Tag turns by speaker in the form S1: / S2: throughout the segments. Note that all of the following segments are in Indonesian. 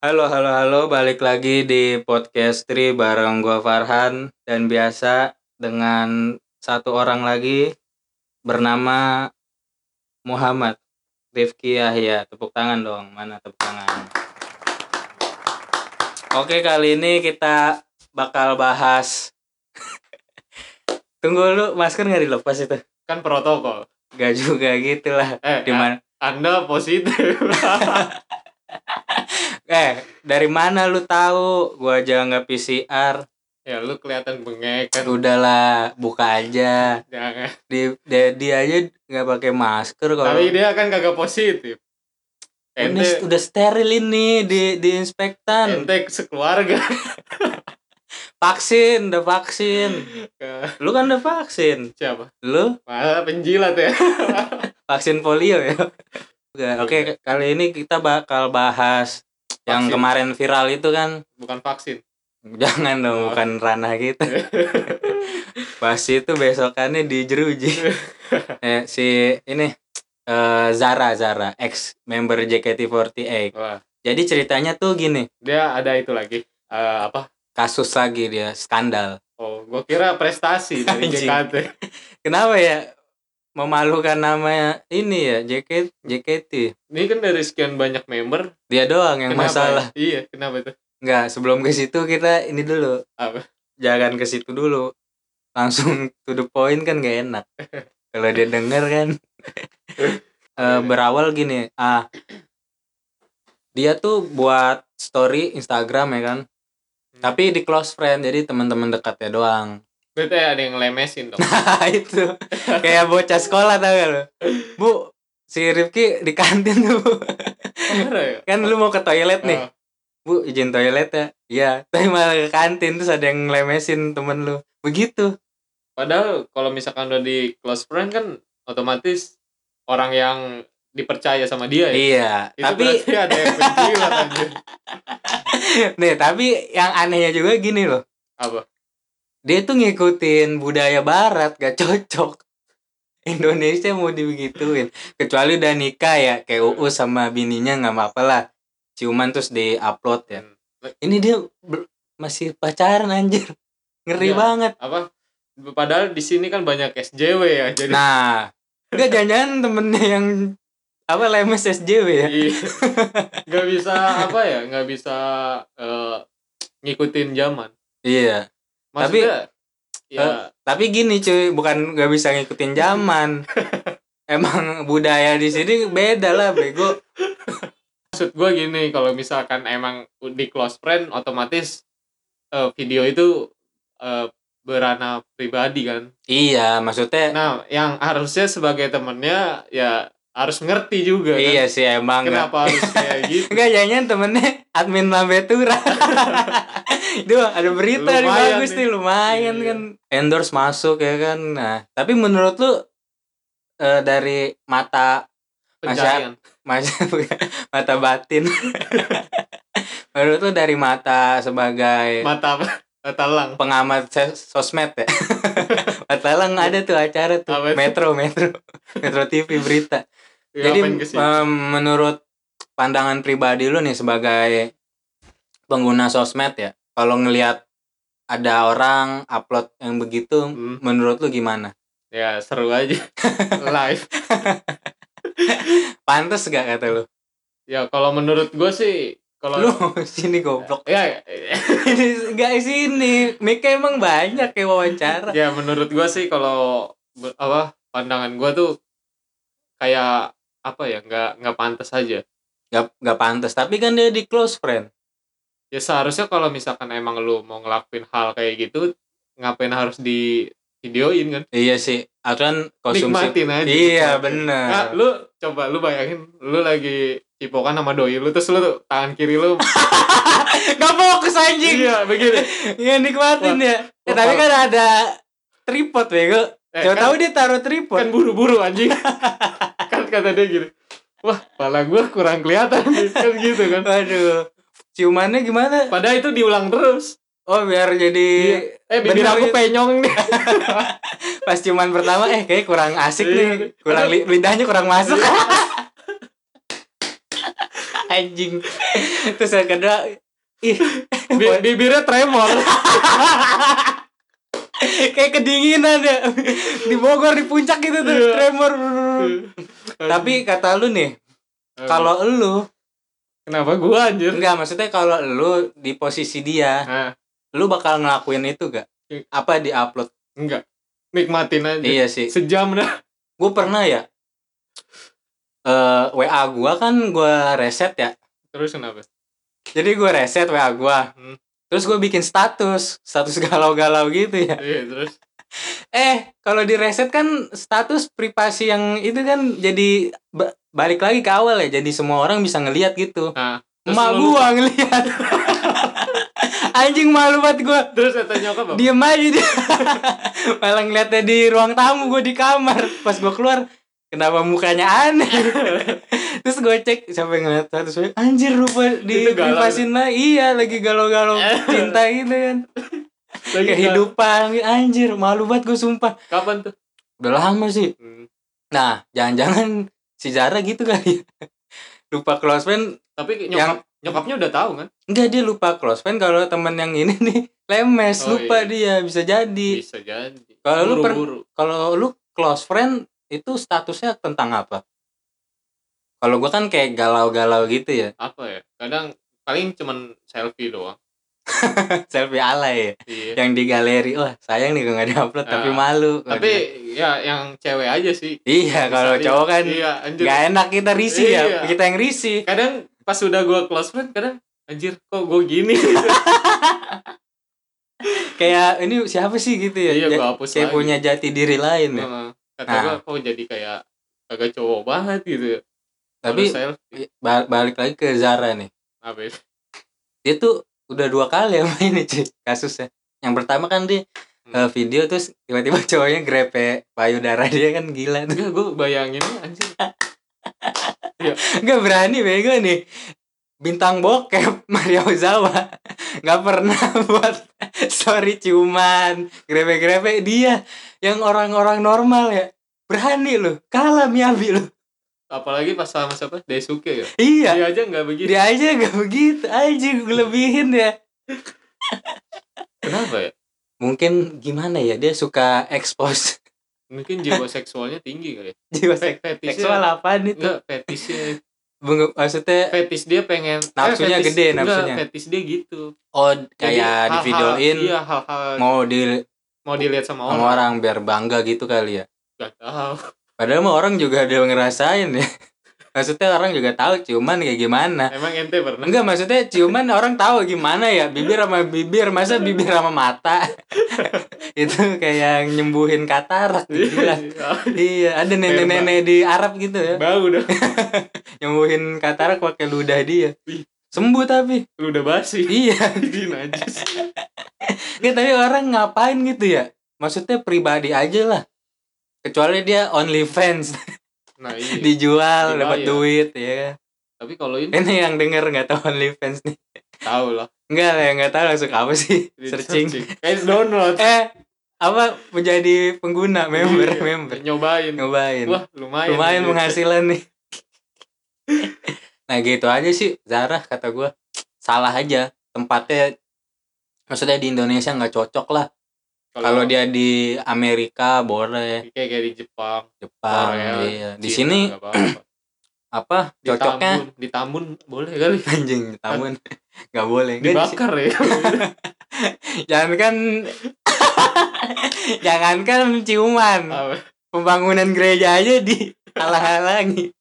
S1: Halo, halo, halo. Balik lagi di podcast Tri bareng gua Farhan dan biasa dengan satu orang lagi bernama Muhammad Rifki Yahya. Tepuk tangan dong. Mana tepuk tangan? Oke, kali ini kita bakal bahas Tunggu lu, masker nggak dilepas itu?
S2: kan protokol
S1: Gak juga gitu lah.
S2: eh
S1: Di mana-
S2: anda positif
S1: Eh, dari mana lu tahu? Gua aja nggak PCR.
S2: ya lu kelihatan bengek kan
S1: Udahlah, buka aja.
S2: jangan
S1: di dia, dia aja nggak pakai masker kalau
S2: tapi dia kan kagak positif
S1: ini
S2: ente
S1: udah steril ini di di inspektan
S2: ente sekeluarga
S1: vaksin udah vaksin
S2: Ke-
S1: lu kan udah vaksin
S2: siapa
S1: lu
S2: malah penjilat ya
S1: vaksin polio ya Nggak, oke kali ini kita bakal bahas yang
S2: Iya. Vaksin.
S1: kemarin viral itu kan
S2: bukan vaksin
S1: jangan dong
S2: Oh.
S1: bukan ranah kita bahas itu besokannya di jeruji eh, si ini eh, Zara Zara ex member JKT48
S2: wah
S1: jadi ceritanya tuh gini
S2: dia ada itu lagi Eh, apa
S1: kasus lagi dia skandal.
S2: oh gua kira prestasi dari
S1: Anjing.
S2: JKT
S1: Kenapa ya memalukan namanya ini ya JKT JKT.
S2: ini kan dari sekian banyak member
S1: Dia doang yang
S2: kenapa
S1: masalah.
S2: ya? iya kenapa itu
S1: Enggak, sebelum ke situ kita ini dulu.
S2: Apa?
S1: Jangan ke situ dulu. Langsung to the point kan gak enak. Kalau dia denger kan. Eh, berawal gini, ah dia tuh buat story Instagram ya kan. Tapi di close friend, jadi teman-teman dekatnya doang.
S2: berarti ada yang lemesin dong
S1: Nah, itu kayak bocah sekolah tau gak lu bu si Rifki di kantin tuh Bu.
S2: Parah ya?
S1: kan lu mau ke toilet nih
S2: Ah,
S1: bu izin toilet ya iya tapi malah ke kantin terus ada yang ngelemesin temen lu begitu
S2: Padahal kalau misalkan udah di close friend kan otomatis orang yang dipercaya sama dia ya.
S1: iya
S2: Itu
S1: tapi
S2: berarti ada yang kan penjilat anjir.
S1: nih tapi yang anehnya juga gini loh
S2: Apa?
S1: dia tuh ngikutin budaya barat gak cocok Indonesia mau dibegituin kecuali udah nikah ya kayak UU sama bininya nggak apa-apa lah ciuman terus di upload ya
S2: Hmm.
S1: ini dia ber- masih pacaran anjir ngeri
S2: Iya.
S1: banget
S2: Apa? Padahal di sini kan banyak SJW ya. Jadi
S1: nah enggak jangan-jangan temennya yang apa lemes SJW ya
S2: Iya. nggak bisa apa ya? Nggak bisa eh, ngikutin zaman.
S1: iya
S2: Maksudnya ya
S1: eh. tapi gini cuy bukan nggak bisa ngikutin zaman emang budaya di sini beda lah bego
S2: maksud gue gini kalau misalkan emang di close friend otomatis eh, video itu eh, berana pribadi kan.
S1: iya maksudnya
S2: Nah, yang harusnya sebagai temennya ya harus ngerti juga kan.
S1: iya sih emang nggak-
S2: Kenapa harus kayak gitu?
S1: enggak jangan temennya admin lambe Tura itu ada berita nih
S2: Lumayan
S1: bagus
S2: nih.
S1: nih lumayan
S2: Iya.
S1: kan endorse masuk ya kan nah tapi menurut lu eh, dari mata
S2: Pencarian.
S1: mata mata batin menurut lu dari mata sebagai
S2: Mata mata lang.
S1: pengamat ses- sosmed ya mata lang ada tuh acara tuh
S2: Apa itu?
S1: metro metro metro TV berita
S2: Ya,
S1: jadi eh,
S2: apain ke sini?
S1: em, menurut pandangan pribadi lu nih sebagai pengguna sosmed ya, kalau ngelihat ada orang upload yang begitu,
S2: Hmm.
S1: menurut lu gimana?
S2: ya seru aja. Live.
S1: Pantes gak kata lu?
S2: Ya kalau menurut gue sih
S1: Lu
S2: kalau
S1: sini goblok.
S2: ya
S1: Ini gak sini. Mika emang banyak ya wawancara.
S2: ya menurut gue sih kalau be- apa pandangan gue tuh kayak apa ya nggak nggak pantas aja
S1: Gak, gak pantas, tapi kan dia di close friend.
S2: ya seharusnya kalau misalkan emang lu mau ngelakuin hal kayak gitu ngapain harus di videoin kan
S1: Iya sih, aturan konsumsi.
S2: nikmatin aja
S1: Iya,
S2: nikmatin.
S1: bener.
S2: Nah, lu coba lu bayangin lu lagi cipokan sama doi lu terus lu tuh tangan kiri lu
S1: Gak fokus anjing.
S2: iya begini.
S1: Iya nikmatin ya. Eh,
S2: Wah,
S1: tapi
S2: kalau-
S1: kan ada tripod bego.
S2: Eh,
S1: Coba
S2: kan-
S1: tahu dia taruh tripod.
S2: Kan buru-buru anjing. kan kata dia gini. Wah, pala gua kurang kelihatan nih." kan gitu kan.
S1: Waduh. Ciumannya gimana?
S2: Padahal itu diulang terus.
S1: Oh biar jadi
S2: Eh, bibir
S1: Bener
S2: aku
S1: gitu.
S2: penyong nih.
S1: pas ciuman pertama eh kayak kurang asik
S2: Iya.
S1: nih. Kurang li- lidahnya kurang masuk. anjing terus yang kedua ih
S2: Bi- bibirnya tremor
S1: kayak kedinginan ya di Bogor di puncak gitu tuh
S2: Iya.
S1: tremor tapi kata lu nih
S2: Eh,
S1: kalau lu
S2: kenapa gua anjir
S1: enggak maksudnya kalau lu di posisi dia
S2: nah,
S1: lu bakal ngelakuin itu gak
S2: Iya.
S1: apa di upload
S2: enggak nikmatin aja
S1: iya sih
S2: sejam dah
S1: gue pernah ya eh WA gua kan gua reset ya
S2: terus kenapa
S1: jadi gue reset WA gua
S2: Hmm.
S1: terus gue bikin status status galau-galau gitu ya
S2: iya terus
S1: eh kalau di reset kan status privasi yang itu kan jadi ba- balik lagi ke awal ya jadi semua orang bisa ngelihat gitu
S2: nah terus
S1: emak
S2: lu-
S1: gua ngelihat anjing malu banget gua
S2: terus kata nyokap apa?
S1: diem aja dia malah ngeliatnya di ruang tamu gue di kamar pas gue keluar kenapa mukanya aneh terus gue cek siapa yang ngeliat status gue, anjir rupa di
S2: Itu galau.
S1: privasin lah iya lagi galau-galau cinta gitu kan
S2: Lagi
S1: kehidupan anjir malu banget gue sumpah
S2: kapan tuh
S1: udah lama sih
S2: Hmm.
S1: nah jangan-jangan si Zara gitu kali ya. lupa close friend
S2: tapi
S1: Yang-
S2: nyokap nyokapnya udah tahu kan
S1: enggak dia lupa close friend kalau temen yang ini nih lemes
S2: Oh,
S1: lupa
S2: iya.
S1: dia bisa jadi
S2: bisa jadi
S1: Kalau lu per-
S2: Buru-buru.
S1: kalau lu close friend itu statusnya tentang apa? Kalau gua kan kayak galau-galau gitu ya,
S2: apa ya kadang paling cuman selfie doang
S1: selfie alay ya,
S2: iya
S1: yang di galeri. Wah sayang nih gua nggak diupload
S2: Ya.
S1: tapi malu.
S2: tapi ya yang cewek aja sih
S1: iya gitu. kalau
S2: Misalnya,
S1: cowok kan
S2: iya anjir
S1: nggak enak kita risih
S2: Iya.
S1: ya, kita yang risih.
S2: kadang pas udah gue close friend kadang anjir kok gue gini
S1: Kayak ini siapa sih gitu ya?
S2: iya gue
S1: Ja-
S2: hapus
S1: kayak
S2: lagi
S1: punya jati diri lain ya.
S2: Heeh. kata
S1: Nah.
S2: gue kok jadi kayak agak cowok banget gitu
S1: tapi
S2: Kalau selfie
S1: ba- balik lagi ke Zara nih,
S2: apa ya?
S1: dia tuh udah dua kali sama ini Ci, kasusnya. Yang pertama kan dia eh, video terus tiba-tiba cowoknya grepe payudara dia kan gila tuh.
S2: enggak gue bayangin anjir
S1: Gak berani bego nih Bintang bokep Mario Ozawa Gak pernah buat Sorry cuman Grepe-grepe dia Yang orang-orang normal ya Berani loh Kalah Miyabi loh
S2: apalagi pas sama siapa Daisuke ya
S1: Iya
S2: dia aja nggak begitu
S1: Dia aja gak begitu Aja gue lebihin ya
S2: kenapa ya
S1: Mungkin gimana ya Dia suka expose
S2: mungkin jiwa seksualnya tinggi kali ya
S1: Jiwa
S2: Fe- fetisnya
S1: seksual apa nih
S2: enggak fetisnya
S1: Maksudnya
S2: fetis dia pengen eh,
S1: Nafsunya
S2: fetis-
S1: gede,
S2: enggak,
S1: nafsunya.
S2: fetis dia gitu
S1: Oh
S2: Jadi
S1: kayak di
S2: hal-hal-
S1: videoin
S2: iya Oh. hal-hal
S1: Mau di
S2: mau dilihat
S1: sama
S2: sama orang
S1: orang Biar bangga gitu kali ya
S2: nggak tahu
S1: Padahal mah orang juga ada yang ngerasain ya. Maksudnya orang juga tahu ciuman kayak gimana.
S2: emang ente pernah
S1: Enggak maksudnya ciuman orang tahu gimana ya bibir sama bibir masa bibir sama mata itu kayak nyembuhin katarak
S2: Iya.
S1: gila. iya ada nenek-nenek di Arab gitu ya
S2: bau udah
S1: nyembuhin katarak pakai ludah dia
S2: Ih.
S1: sembuh tapi
S2: lu udah basi
S1: iya
S2: ini najis
S1: Enggak, tapi orang ngapain gitu ya maksudnya pribadi aja lah kecuali dia only fans
S2: nah iya
S1: dijual dapat
S2: Dibayar.
S1: duit ya
S2: tapi kalau ini
S1: Ini yang denger nggak tahu OnlyFans nih.
S2: tahu lah
S1: Enggak lah, yang nggak tahu langsung apa sih?
S2: Di
S1: Searching.
S2: eh download
S1: Eh, apa menjadi pengguna member
S2: Iya,
S1: member
S2: nyobain
S1: nyobain.
S2: wah lumayan
S1: Lumayan
S2: Gitu.
S1: penghasilan nih. nah gitu aja sih Zara kata gua salah aja tempatnya maksudnya di Indonesia nggak cocok lah kalau dia di Amerika boleh
S2: kayak kayak di Jepang
S1: Jepang
S2: Korea,
S1: iya. di
S2: ya. Cina,
S1: sini
S2: nggak apa-apa.
S1: apa
S2: di Tambun
S1: cocoknya
S2: di Tambun boleh kali
S1: anjing tamun nggak boleh Nggak, di kan
S2: dibakar ya
S1: Jangankan Jangankan kan ciuman
S2: Apa?
S1: Pembangunan gereja aja di halang-halangi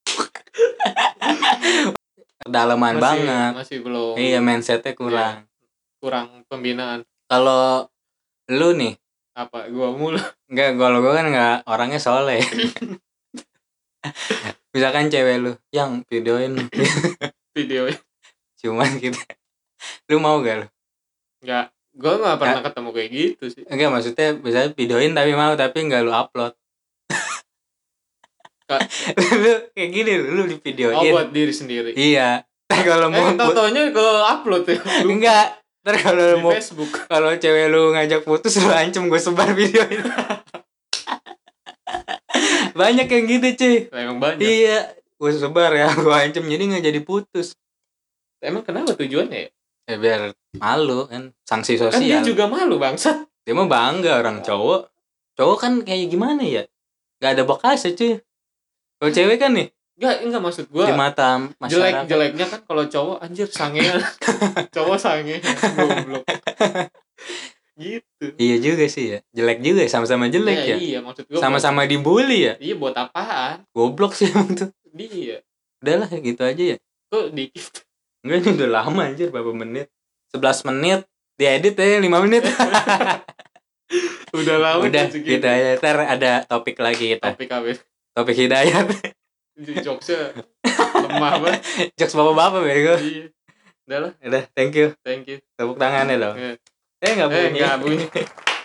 S1: Kedalaman
S2: masih, Iya.
S1: banget
S2: masih belum
S1: Iya mindsetnya kurang
S2: kurang pembinaan
S1: Kalau lu nih
S2: apa gua mulu
S1: Enggak, kalau gue kan enggak orangnya soleh Misalkan cewek lu Yang videoin lu,
S2: video
S1: ciuman gitu Lu mau gak lu?
S2: nggak gua nggak
S1: Ya.
S2: pernah ketemu kayak gitu sih
S1: Enggak maksudnya Misalnya videoin tapi mau Tapi enggak lu upload
S2: Kak.
S1: lu kayak gini lu, lu di videoin
S2: oh buat diri sendiri
S1: Iya. Ntar kalau mau
S2: eh tau-taunya ke upload ya Lu
S1: enggak. Ntar kalau
S2: di
S1: mau
S2: Facebook
S1: kalau cewek lu ngajak putus lu ancam gue sebar video itu. Banyak yang gitu cuy. gitu,
S2: Lah, emang banyak
S1: Iya, gue sebar ya, gue ancam jadi nggak jadi putus.
S2: Emang kenapa tujuannya? ya?
S1: ya biar malu kan sanksi
S2: Kan
S1: sosial dia,
S2: dia juga malu bangsat.
S1: mah bangga orang cowok cowok kan kayak gimana ya nggak ada bekasnya cuy kalau cewek kan nih
S2: Enggak, enggak maksud
S1: di
S2: Hmm. gua.
S1: mata masyarakat
S2: Jelek-jeleknya kan kalau cowok anjir sangean. cowok sangean goblok. gitu.
S1: iya juga sih ya jelek juga ya, sama-sama jelek ya
S2: Iya, maksud gua.
S1: sama-sama dibully ya
S2: buat- Iya, buat apaan?
S1: goblok sih emang tuh
S2: Dia.
S1: udahlah gitu aja ya
S2: Kok dikit
S1: enggak ini udah lama anjir berapa menit 11 menit diedit aja 5 menit
S2: udah lama
S1: udah
S2: tuh segini.
S1: gitu aja ntar ada topik lagi kita
S2: Topik habis.
S1: topik hidayat
S2: Jokesnya lemah banget.
S1: jokes bapak-bapak bego
S2: Iya. Udah lah,
S1: udah thank you
S2: thank you.
S1: tepuk tangannya dong
S2: Eh,
S1: eh nggak
S2: eh,
S1: bunyi
S2: enggak bunyi.